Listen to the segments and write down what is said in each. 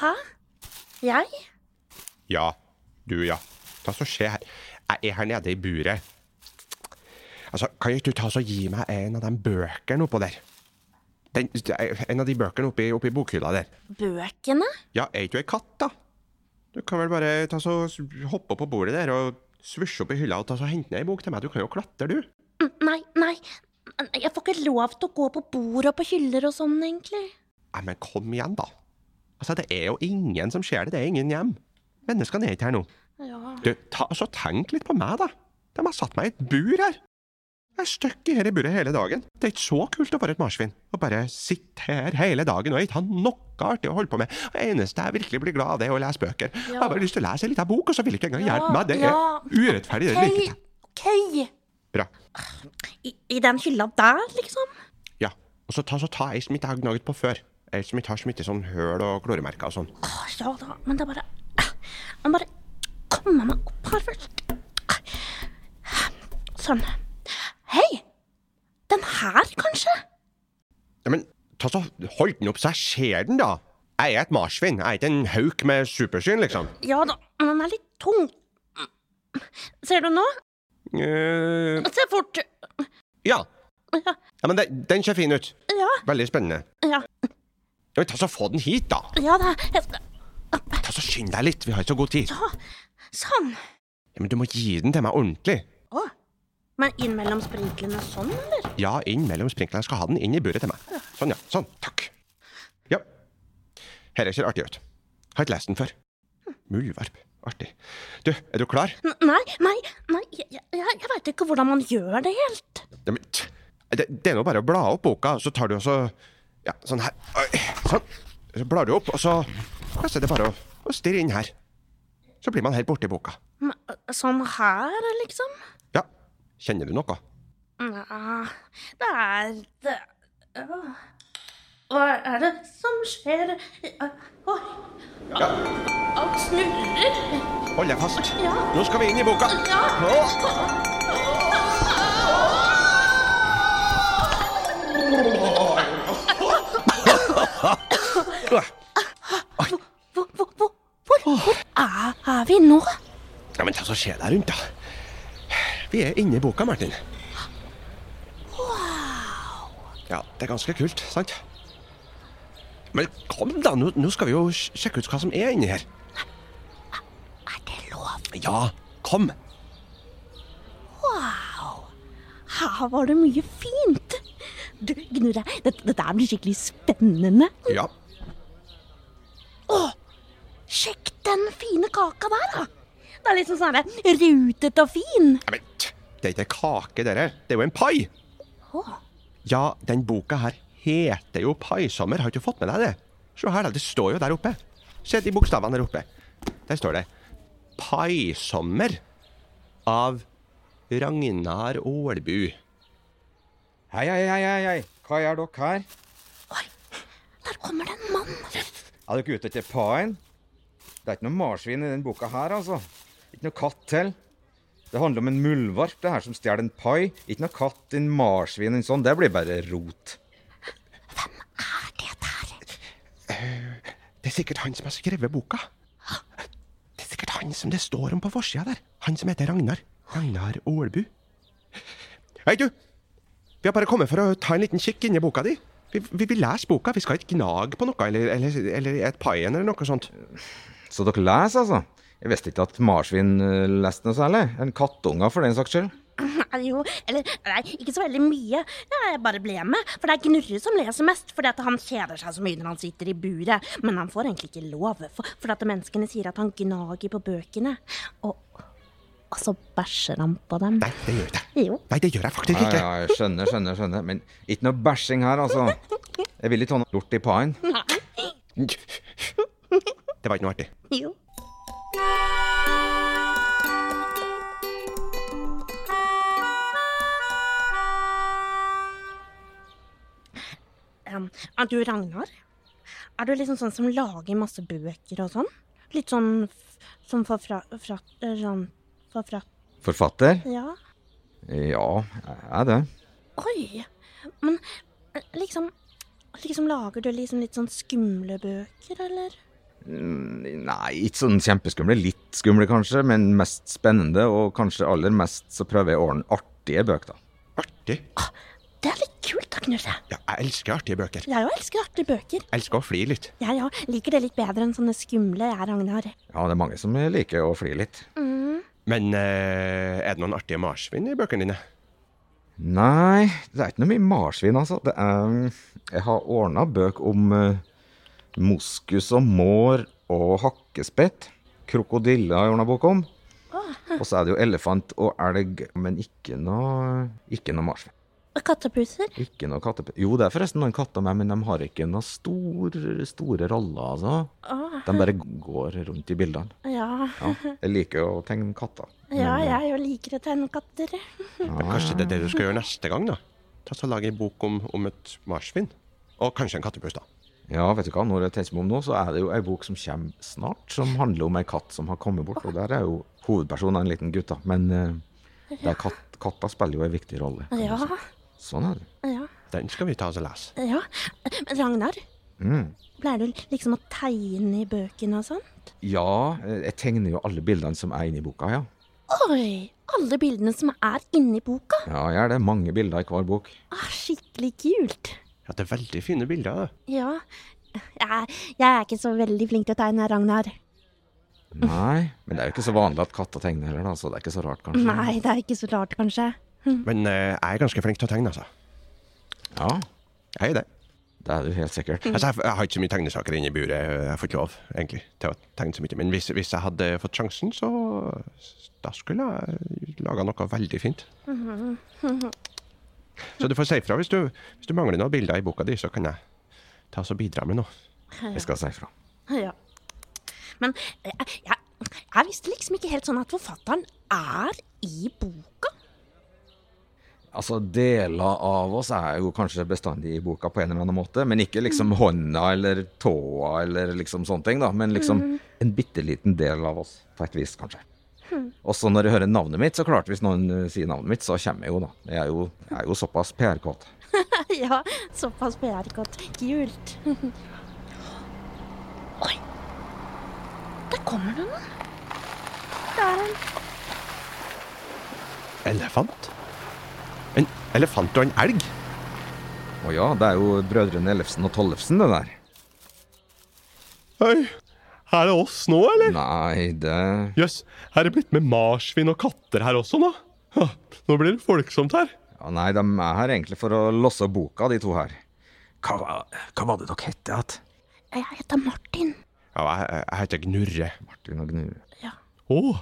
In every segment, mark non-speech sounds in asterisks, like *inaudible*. Hæ? Jeg? Ja, du, ja. Hva som skjer her? Jeg er her nede i buret. Altså, kan ikke du ta og gi meg en av de bøkene oppå der? Den, en av de bøkene oppi, oppi bokhylla der. Bøkene? Ja, er ikke du ei katt, da? Du kan vel bare ta så hoppe opp på bordet der og svusje opp i hylla og ta så hente ned ei bok til meg. Du kan jo klatre, du. Mm, Nei, nei. Jeg får ikke lov til å gå på bord og på hyller og sånn, egentlig. Nei, men kom igjen, da. Altså, det er jo ingen som ser det. Det er ingen hjem. Menneskene er ikke her nå. Ja. Du, ta, altså, tenk litt på meg, da. De har satt meg i et bur her. Jeg er stuck i her i buret hele dagen. Det er ikke så kult å være et marsvin og bare sitte her hele dagen og ikke ha noe artig å holde på med. Det eneste jeg virkelig blir glad av, det er å lese bøker. Jeg har bare lyst til å lese ei lita bok, og så vil jeg ikke engang Ja, hjelpe meg. Det ja. er urettferdig. Det liker Hei, jeg. ok. Bra. I, I den hylla der, liksom? Ja. Og så ta, så ta ei som ikke jeg har gnagd på før. Ei som ikke har smittet sånn høl og kloremerker og sånn. Å, ja da, men det er bare ah, Jeg må bare komme meg opp her først. Sånn. Hei! Den her, kanskje? Ja, men ta så hold den opp, så jeg ser den, da. Jeg er et marsvin. Jeg er ikke en hauk med supersyn, liksom. Ja da, men den er litt tung. Ser du nå? Eh, Se fort. ja. *laughs* ja. Men den, den ser fin ut. Ja, Veldig spennende. ja. Ja, men ta så Få den hit, da. Ja da. Jeg skal Ta så Skynd deg litt. Vi har ikke så god tid. Ja, sånn. Ja, men Du må gi den til meg ordentlig. Å. Men inn mellom sprinklene sånn, eller? Ja, inn mellom sprinklene. Jeg skal ha den inn i buret til meg. Sånn, ja. Sånn. Takk. Ja. Dette ser artig ut. Har ikke lest den før. Hm. Muldvarp. Artig. Du, er du klar? N nei, nei, nei, jeg, jeg, jeg veit ikke hvordan man gjør det helt. Ja, men, t- det, det er nå bare å bla opp boka, så tar du også Ja, sånn her. Oi, Sånn. Så blar du opp, og så ja, så er det bare å, å stirre inn her. Så blir man helt borti boka. Men, øh, Sånn her, liksom? Ja. Kjenner du noe? Nja, det er det øh. Hva er det som skjer? Øh, Oi, Ja. alt snurrer. Hold deg fast. Ja. Nå skal vi inn i boka. Ja. Å, Hvor, hvor, hvor, hvor, hvor er, er vi nå? Ja, men hva som skjer der rundt, da? Vi er inne i boka, Martin. Ja, det er ganske kult, sant? Men kom, da. Nå, nå skal vi jo sj- sjekke ut hva som er inni her. Er det lov? Ja, kom. Her var det mye fint. Du, Gnurre, dette, dette her blir skikkelig spennende. Ja. Sjekk den fine kaka der, da. Det er liksom sånn her rutete og fin. Ja, Men t- det er ikke kake, dere. Det er jo en pai. Å. Ja, den boka her heter jo Paisommer. Har ikke du fått med deg det? Se her, da. Det står jo der oppe. Se de bokstavene der oppe. Der står det Paisommer av Ragnar Ålbu. Hei, hei, hei, hei, hei. Hva gjør dere her? Oi, der kommer det en mann. Er dere ute etter paien? Det er ikke noe marsvin i den boka her, altså. Ikke noe katt til. Det handler om en muldvarp, det her som stjeler en pai. Ikke noe katt, en marsvin, en sånn. Det blir bare rot. Er det der? Det er sikkert han som har skrevet boka. Det er sikkert han som det står om på forsida der. Han som heter Ragnar. Ragnar Ålbu. Hei, du! Vi har bare kommet for å ta en liten kikk inni boka di. Vi, vi vil lese boka, vi skal ikke gnage på noe, eller, eller, eller et paien eller noe sånt. Så dere leser, altså? Jeg visste ikke at marsvin eh, leste noe særlig. En kattunger, for den saks skyld. Nei, jo, eller nei, ikke så veldig mye. Jeg bare ble med. For det er Gnurre som leser mest, fordi at han kjeder seg så mye når han sitter i buret. Men han får egentlig ikke lov, for, for at menneskene sier at han gnager på bøkene. Og, og så bæsjer han på dem. Nei, det gjør jeg ikke. Jo. Nei, det gjør jeg faktisk Ja, ikke. ja, jeg skjønner, skjønner, skjønner. Men ikke noe bæsjing her, altså. Jeg vil ikke ha noe lort i paien. Det var ikke noe artig. Jo. Um, er du Ragnar? Er du liksom sånn som lager masse bøker og sånn? Litt sånn f som forfra... Fra, eh, sånn forfra... Forfatter? Ja. Ja, jeg er det. Oi! Men eh, liksom Liksom lager du liksom litt sånn skumle bøker, eller? Mm, Nei, ikke sånn kjempeskumle. Litt skumle, kanskje, men mest spennende. Og kanskje aller mest så prøver jeg å ordne artige bøker, da. Artig. Det er litt kult da, Knurre. Ja, jeg elsker artige bøker. Jeg jo elsker artige bøker. Jeg elsker å flire litt. Jeg ja, liker det litt bedre enn sånne skumle jeg, Ragnar. Ja, det er mange som liker å flire litt. Men eh, er det noen artige marsvin i bøkene dine? Nei, det er ikke noe mye marsvin, altså. Det er, jeg har ordna bøk om eh, moskus og mår og hakkespett. Krokodiller har jeg ordna bok om. Og så er det jo elefant og elg, men ikke noe, ikke noe marsvin. Og kattepuser. Ikke noe kattep... Jo, det er forresten noen katter med, men de har ikke noen store, store roller, altså. Åh, De bare går rundt i bildene. ja. Ja. Jeg liker jo å tegne katter. *laughs* Ja, jeg jo liker å tegne katter. Men kanskje det er det du skal gjøre neste gang, da? Ta så Lage en bok om, om et marsvin. Og kanskje en kattepus, da. Ja, vet du hva, når jeg tenker meg om nå, så er det jo ei bok som kommer snart, som handler om ei katt som har kommet bort, og der er jo hovedpersonen en liten gutt, da. Men eh, det er katt, katta spiller jo ei viktig rolle. kan du Ja, si. Sånn er det. ja, Den skal vi ta oss og lese. ja. Men Ragnar, Mm. pleier du liksom å tegne i bøkene og sånn? Ja, eh, jeg tegner jo alle bildene som er inni boka, ja. Oi, alle bildene som er inni boka. Ja, jeg er det. Mange bilder i hver bok. Ah, skikkelig kult. Ja, det er veldig fine bilder. da. Ja. Jeg, jeg er ikke så veldig flink til å tegne, Ragnar. Nei, men det er jo ikke så vanlig at katter tegner heller, da, så det er ikke så rart, kanskje. Nei, det er ikke så rart, kanskje. Men eh, jeg er ganske flink til å tegne, altså. Ja, Jeg er det. det er du helt *laughs* sikkert. Altså, jeg, jeg har ikke så mye tegnesaker inne i buret. Jeg får ikke lov egentlig, til å tegne så mye. Men hvis, hvis jeg hadde fått sjansen, så da skulle jeg laga noe veldig fint. Så du får si ifra hvis, du- hvis du mangler noen bilder i boka di, så kan jeg ta oss og bidra med noe. Jeg skal si ifra. Ja. Men jeg, jeg, jeg visste liksom ikke helt sånn at forfatteren er i boka. Altså, deler av oss er jo kanskje bestandig i boka på en eller annen måte, men ikke liksom hånda eller tåa eller liksom sånne ting, da. Men liksom en bitte liten del av oss, på et vis, kanskje. Også når jeg hører navnet mitt, så klart hvis noen eh, sier navnet mitt, så kommer jeg jo, da. Jeg er jo, jeg er jo såpass PR-kåt. *laughs* ja, såpass PR-godt. Kult. *laughs* Oi. Der kommer det noen. Der er han. Elefant? En elefant og en elg? Å ja, det er jo brødrene Ellefsen og Tollefsen, det der. Hei, her er oss nå, eller? Nei, det Jøss, her er det blitt med marsvin og katter her også nå? Ha, Nå blir det folksomt her. Ja, nei, de er her egentlig for å losse boka, de to her. Hva, var- hva var det dere het igjen? Jeg heter Martin. Ja, jeg, jeg heter Gnurre. Martin og Gnue. Å,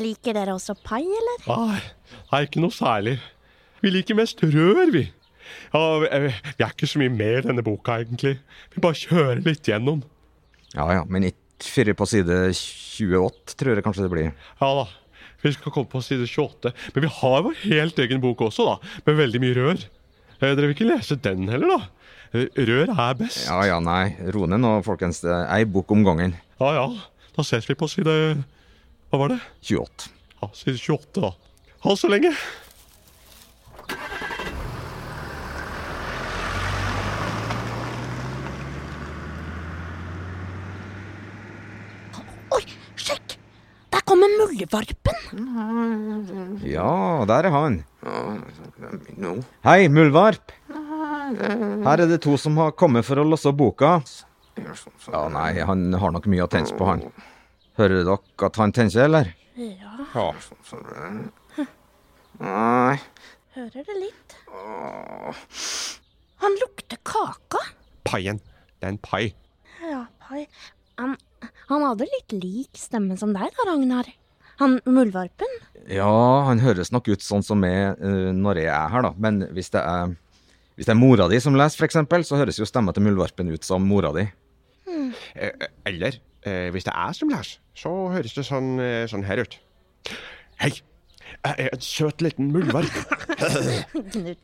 Liker dere også pai, eller? nei, det er ikke noe særlig. Vi liker mest rør, vi. Ja, vi vi er ikke så mye med i denne boka, egentlig. Vi bare kjører litt gjennom. Ja ja, men ikke før på side 28, tror jeg kanskje det blir. Ja da, vi skal komme på side 28. Men vi har vår helt egen bok også, da. Med veldig mye rør. Eh, Dere vil ikke lese den heller, da? Eh, Rør er best. Ja ja, nei, ro ned nå, folkens. Det er ei bok om gangen. Ja ja, da ses vi på side Hva var det? 28. Ja, side 28, da. Ha så lenge! Oi, sjekk! Der kommer muldvarpen. Ja, der er han. Hei, muldvarp. Her er det to som har kommet for å losse boka. Ja, nei, han har nok mye å tenke på, han. Hører dere at han tenker, eller? Ja, Ja. Nei. hører det litt. Han lukter kaka. Paien. Det er en pai. Ja, pai. Han, han hadde litt lik stemme som deg da, Ragnar. Han muldvarpen. Ja, han høres nok ut sånn som jeg eh, når jeg er her, da. Men hvis det er, hvis det er mora di som leser, f.eks., så høres jo stemma til muldvarpen ut som mora di. Eh, eh, Eller eh, hvis det er som Lars, så høres det sånn, eh, sånn her ut. Hei, jeg er en søt liten muldvarp. Knurre. Nei,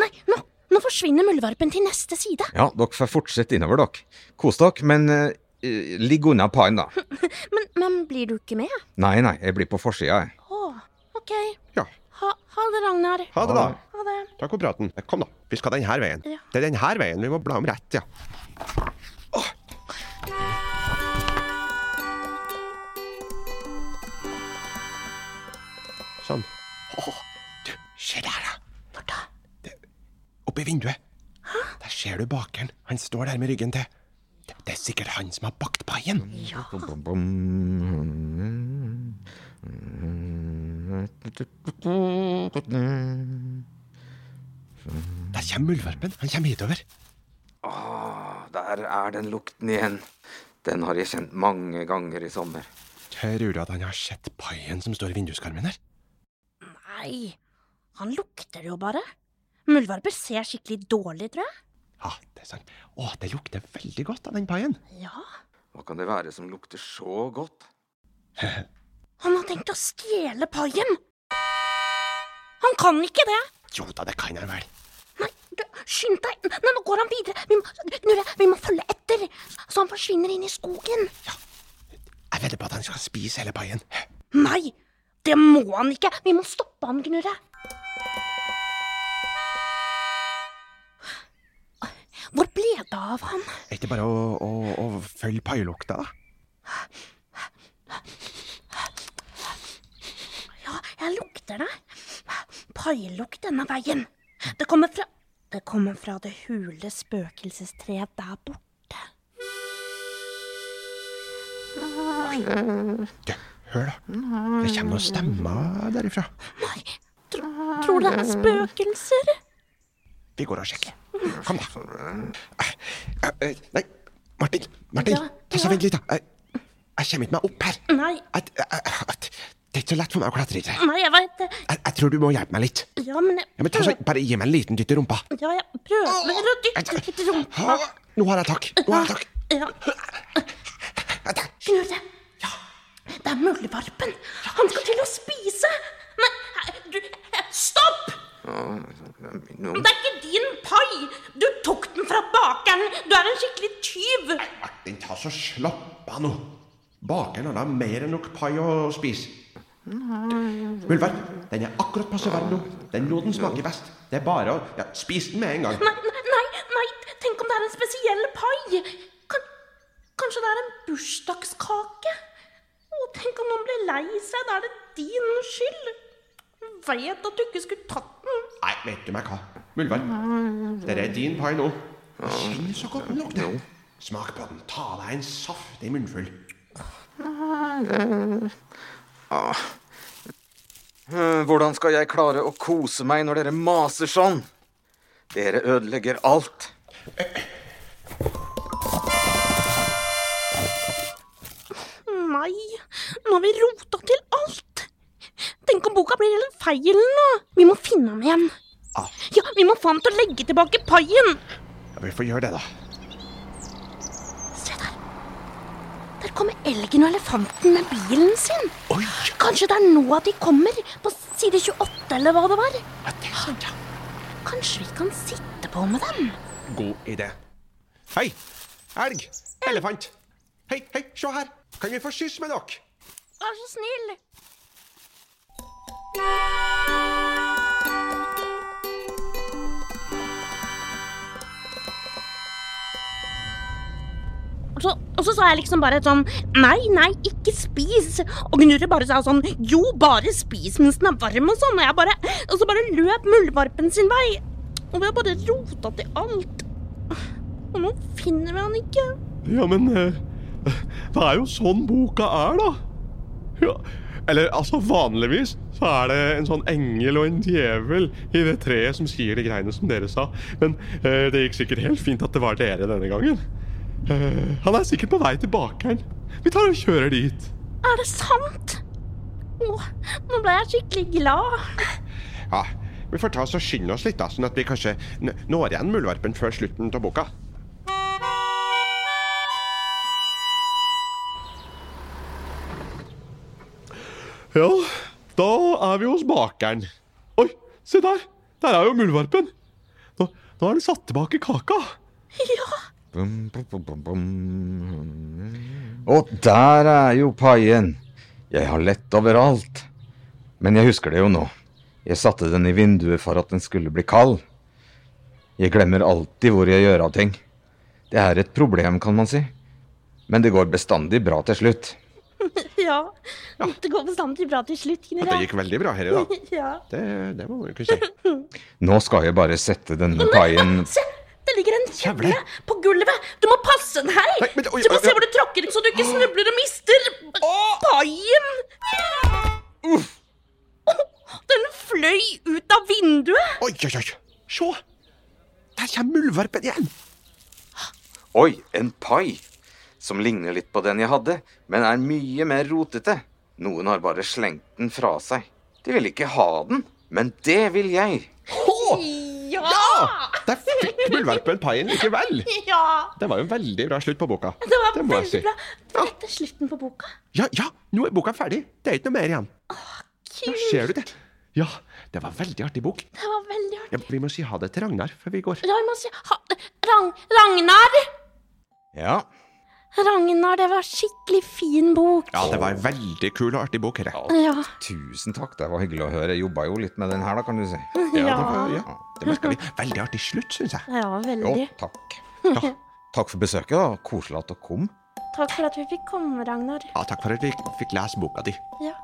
nei, nå, nå forsvinner muldvarpen til neste side. Ja, dere får fortsette innover, dere. Kos dere, men eh, eh, ligg unna paien, da. Men, men blir du ikke med? Nei, nei, jeg blir på forsida, jeg. Å, OK. Ja, Ha, ha det, Ragnar. ha det da. Ha det. Takk for praten. Kom da, vi skal denne veien. Ja. Det er denne veien vi må bla om rett, ja. sånn. Å, du, se der, da! Når da? Oppi vinduet. Der ser du bakeren. Han står der med ryggen til. Det, det er sikkert han som har bakt paien. Ja. Bom, bom, bom. Der kommer muldvarpen. Han kommer hitover. Åh, der er den lukten igjen. Den har jeg kjent mange ganger i sommer. Tror du at han har sett paien som står i vinduskarmen her? Nei, han lukter jo bare. Muldvarper ser skikkelig dårlig, tror jeg. Ja, det er sant. Å, det lukter veldig godt av den paien. Ja, Hva kan det være som lukter så godt? han har tenkt å stjele paien. Han kan ikke det. Jo da, det kan han vel. Nei, du, skynd deg. Nei, nå går han videre. Vi må, Nure, vi må følge etter, så han forsvinner inn i skogen. Jeg vedder på at han skal spise hele paien. Nei, det må han ikke. Vi må stoppe han, Gnurre. Hvor ble det av han? Er ikke bare å, å, å følge pailukta, da? Ja, jeg lukter det. Pailukt denne veien. Det kommer fra Det kommer fra det hule spøkelsestreet der borte. Du, hør da. Det kommer noen stemmer derifra. Nei, tro, tror du det er spøkelser? Vi går og sjekker. Kom, da. Eh, eh, Nei, Martin. Martin, Ja, ta så ja. vent litt, da. Jeg, jeg kommer ikke meg opp her. Nei, Jeg, jeg, jeg, jeg, det er ikke så lett for meg å klatre hit. her. nei, jeg veit det. Jeg, jeg tror du må hjelpe meg litt. Ja, men jeg, Ja, men ta så, bare gi meg en liten dytt i rumpa. Ja, jeg prøver å dytte litt i rumpa. Ah, Nå har jeg takk. Nå har jeg takk. Ja. Knurre. Det er muldvarpen. Han skal til å spise. Nei, du Stopp! Det er ikke din pai! Du tok den fra bakeren! Du er en skikkelig tyv! Martin, ta så slapp av nå. Bakeren har da mer enn nok pai å spise. Du, Muldvarp, den er akkurat passe varm nå. Den nå den smaker best. Det er bare å ja, spise den med en gang. Nei, nei, nei, nei, tenk om det er en spesiell pai! Kan, kanskje det er en bursdagskake? Å, tenk om noen blir lei seg, da er det din skyld! Vet at du ikke skulle tatt den. Nei, vet du meg hva? Muldvarp, dette er din pai nå. Kjenn så godt den lukter. Smak på den. Ta deg en saftig munnfull. Eh, Hvordan skal jeg klare å kose meg når dere maser sånn? Dere ødelegger alt. Nei, nå har vi rota til alt. Tenk om boka blir helt feil nå. Vi må finne ham igjen. Ah. Ja, Vi må få ham til å legge tilbake paien. Ja, vi får gjøre det, da. Se der. Der kommer elgen og elefanten med bilen sin. Oi, Kanskje det er nå de kommer? På side 28, eller hva det var? ja, det er sant, ja. Kanskje vi kan sitte på med dem? God idé. Hei! Elg! Elefant! Hei, hei, se her! Kan vi få skyss med dere? Vær så snill. Og så, og så sa jeg liksom bare et sånn Nei, nei, ikke spis. Og Gnurre bare sa sånn Jo, bare spis mens den er varm og sånn. Og, jeg bare, og så bare løp muldvarpen sin vei. Og vi har bare rota til alt. Og nå finner vi han ikke. Ja, men *laughs* eh, det er jo sånn boka er, da. Ja. Eller altså, vanligvis så er det en sånn engel og en djevel i det treet som sier de greiene som dere sa. Men eh, det gikk sikkert helt fint at det var dere denne gangen. Eh, han er sikkert på vei til bakeren. Vi tar og kjører dit. Er det sant? Åh, nå ble jeg skikkelig glad. Ja, vi får ta oss og skynde oss litt, da, sånn at vi kanskje n- når igjen muldvarpen før slutten av boka. Ja, da er vi hos bakeren. Oi, se der! Der er jo muldvarpen. Nå, nå har de satt tilbake kaka. Ja, Bum, bum, bum, bum, bum. Og der er jo paien. Jeg har lett overalt. Men jeg husker det jo nå. Jeg satte den i vinduet for at den skulle bli kald. Jeg glemmer alltid hvor jeg gjør av ting. Det er et problem, kan man si. Men det går bestandig bra til slutt. Ja. Det går bestandig bra til slutt, Det generelt. gikk veldig bra her i dag. *laughs* Ja. Det, det må man jo kunne si. Nå skal jeg bare sette denne paien Se! Det ligger en Kjevle. kjevle på gulvet! Du må passe deg! Nei, men- oi, du må oi, se oi. hvor du tråkker, så du ikke snubler og mister paien! Den fløy ut av vinduet! Oi, oi, oi. Se! Der kommer muldvarpen igjen. Oi, en pai! Som ligner litt på den jeg hadde, men er mye mer rotete. Noen har bare slengt den fra seg. De vil ikke ha den, men det vil jeg. Ja! Ja! Der fikk muldvarpen paien likevel. Ja! Det var jo en veldig bra slutt på boka. Det var må jeg veldig si. bra. Dette er slutten på boka. Ja, ja, nå er boka ferdig. Det er ikke noe mer igjen. Ja, Kult. ser du det? Ja, det var veldig artig bok. Det var veldig artig. Ja, vi må si ha det til Ragnar før vi går. Ja, vi må si ha, Ragn- Ragnar! Ja, Ragnar, det var skikkelig fin bok. Ja, det var en veldig kul og artig bok. Herre. Ja. tusen takk. Det var hyggelig å høre. Jeg jobba jo litt med den her, da, kan du si. Ja, det var, ja, det merker vi. Veldig artig slutt, syns jeg. Ja, Jo, veldig. takk. Ja, takk for besøket, da. Koselig at dere kom. Takk for at vi fikk komme, Ragnar. Ja, takk for at vi fikk lese boka di. Ja.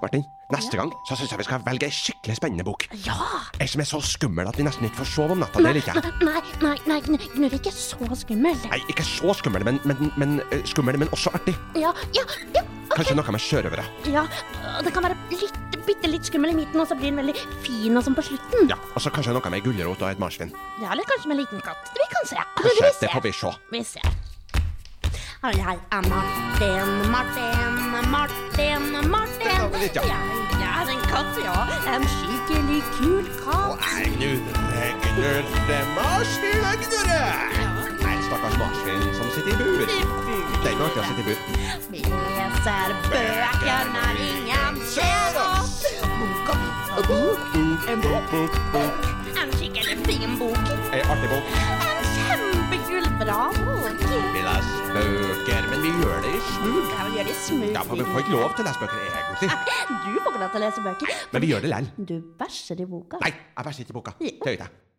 Martin, neste gang så syns jeg vi skal velge ei skikkelig spennende bok. ja. Ei som er så skummel at vi nesten ikke får sove om natta. Det liker jeg. Nei, nei, nei, gnu- Gnur ikke så skummel. Nei, ikke så skummel, men, men, men eh, skummel, men også artig. Ja, ja, ja. Kanskje noe med sjørøvere. ja. Det kan være litt, bitte litt skummel i midten, og så blir den veldig fin og sånn på slutten. Ja, Og så kanskje noe med ei gulrot og et marsvin. Ja, eller kanskje med en liten katt. Vi kan se. Kanskje, Vi det får ser. vi se. Vi ser. Og Jeg er Martin, Martin, Martin, Det var Martin. vel litt, ja. Jeg er en katt, ja. En skikkelig kul katt. Nei, gnurre, marsvin og gnurre! Nei, stakkars marsvin som sitter i bur. Det er ikke artig å sitte i bur. Vi leser bøker når ingen ser oss. Bok og bok og bok. En bok, bok, bok. En skikkelig fin bok. Ei artig bok. En kjempekul, bra bok. Vi leser bøker, men vi gjør det i smug. Kan vi gjøre det smoothie? Ja, for vi får ikke lov til å lese bøker egentlig. Du får ikke lov til å lese bøker. Men vi gjør det likevel. Du bæsjer i boka. Nei, jeg bare sitter i boka. Det gjør jeg.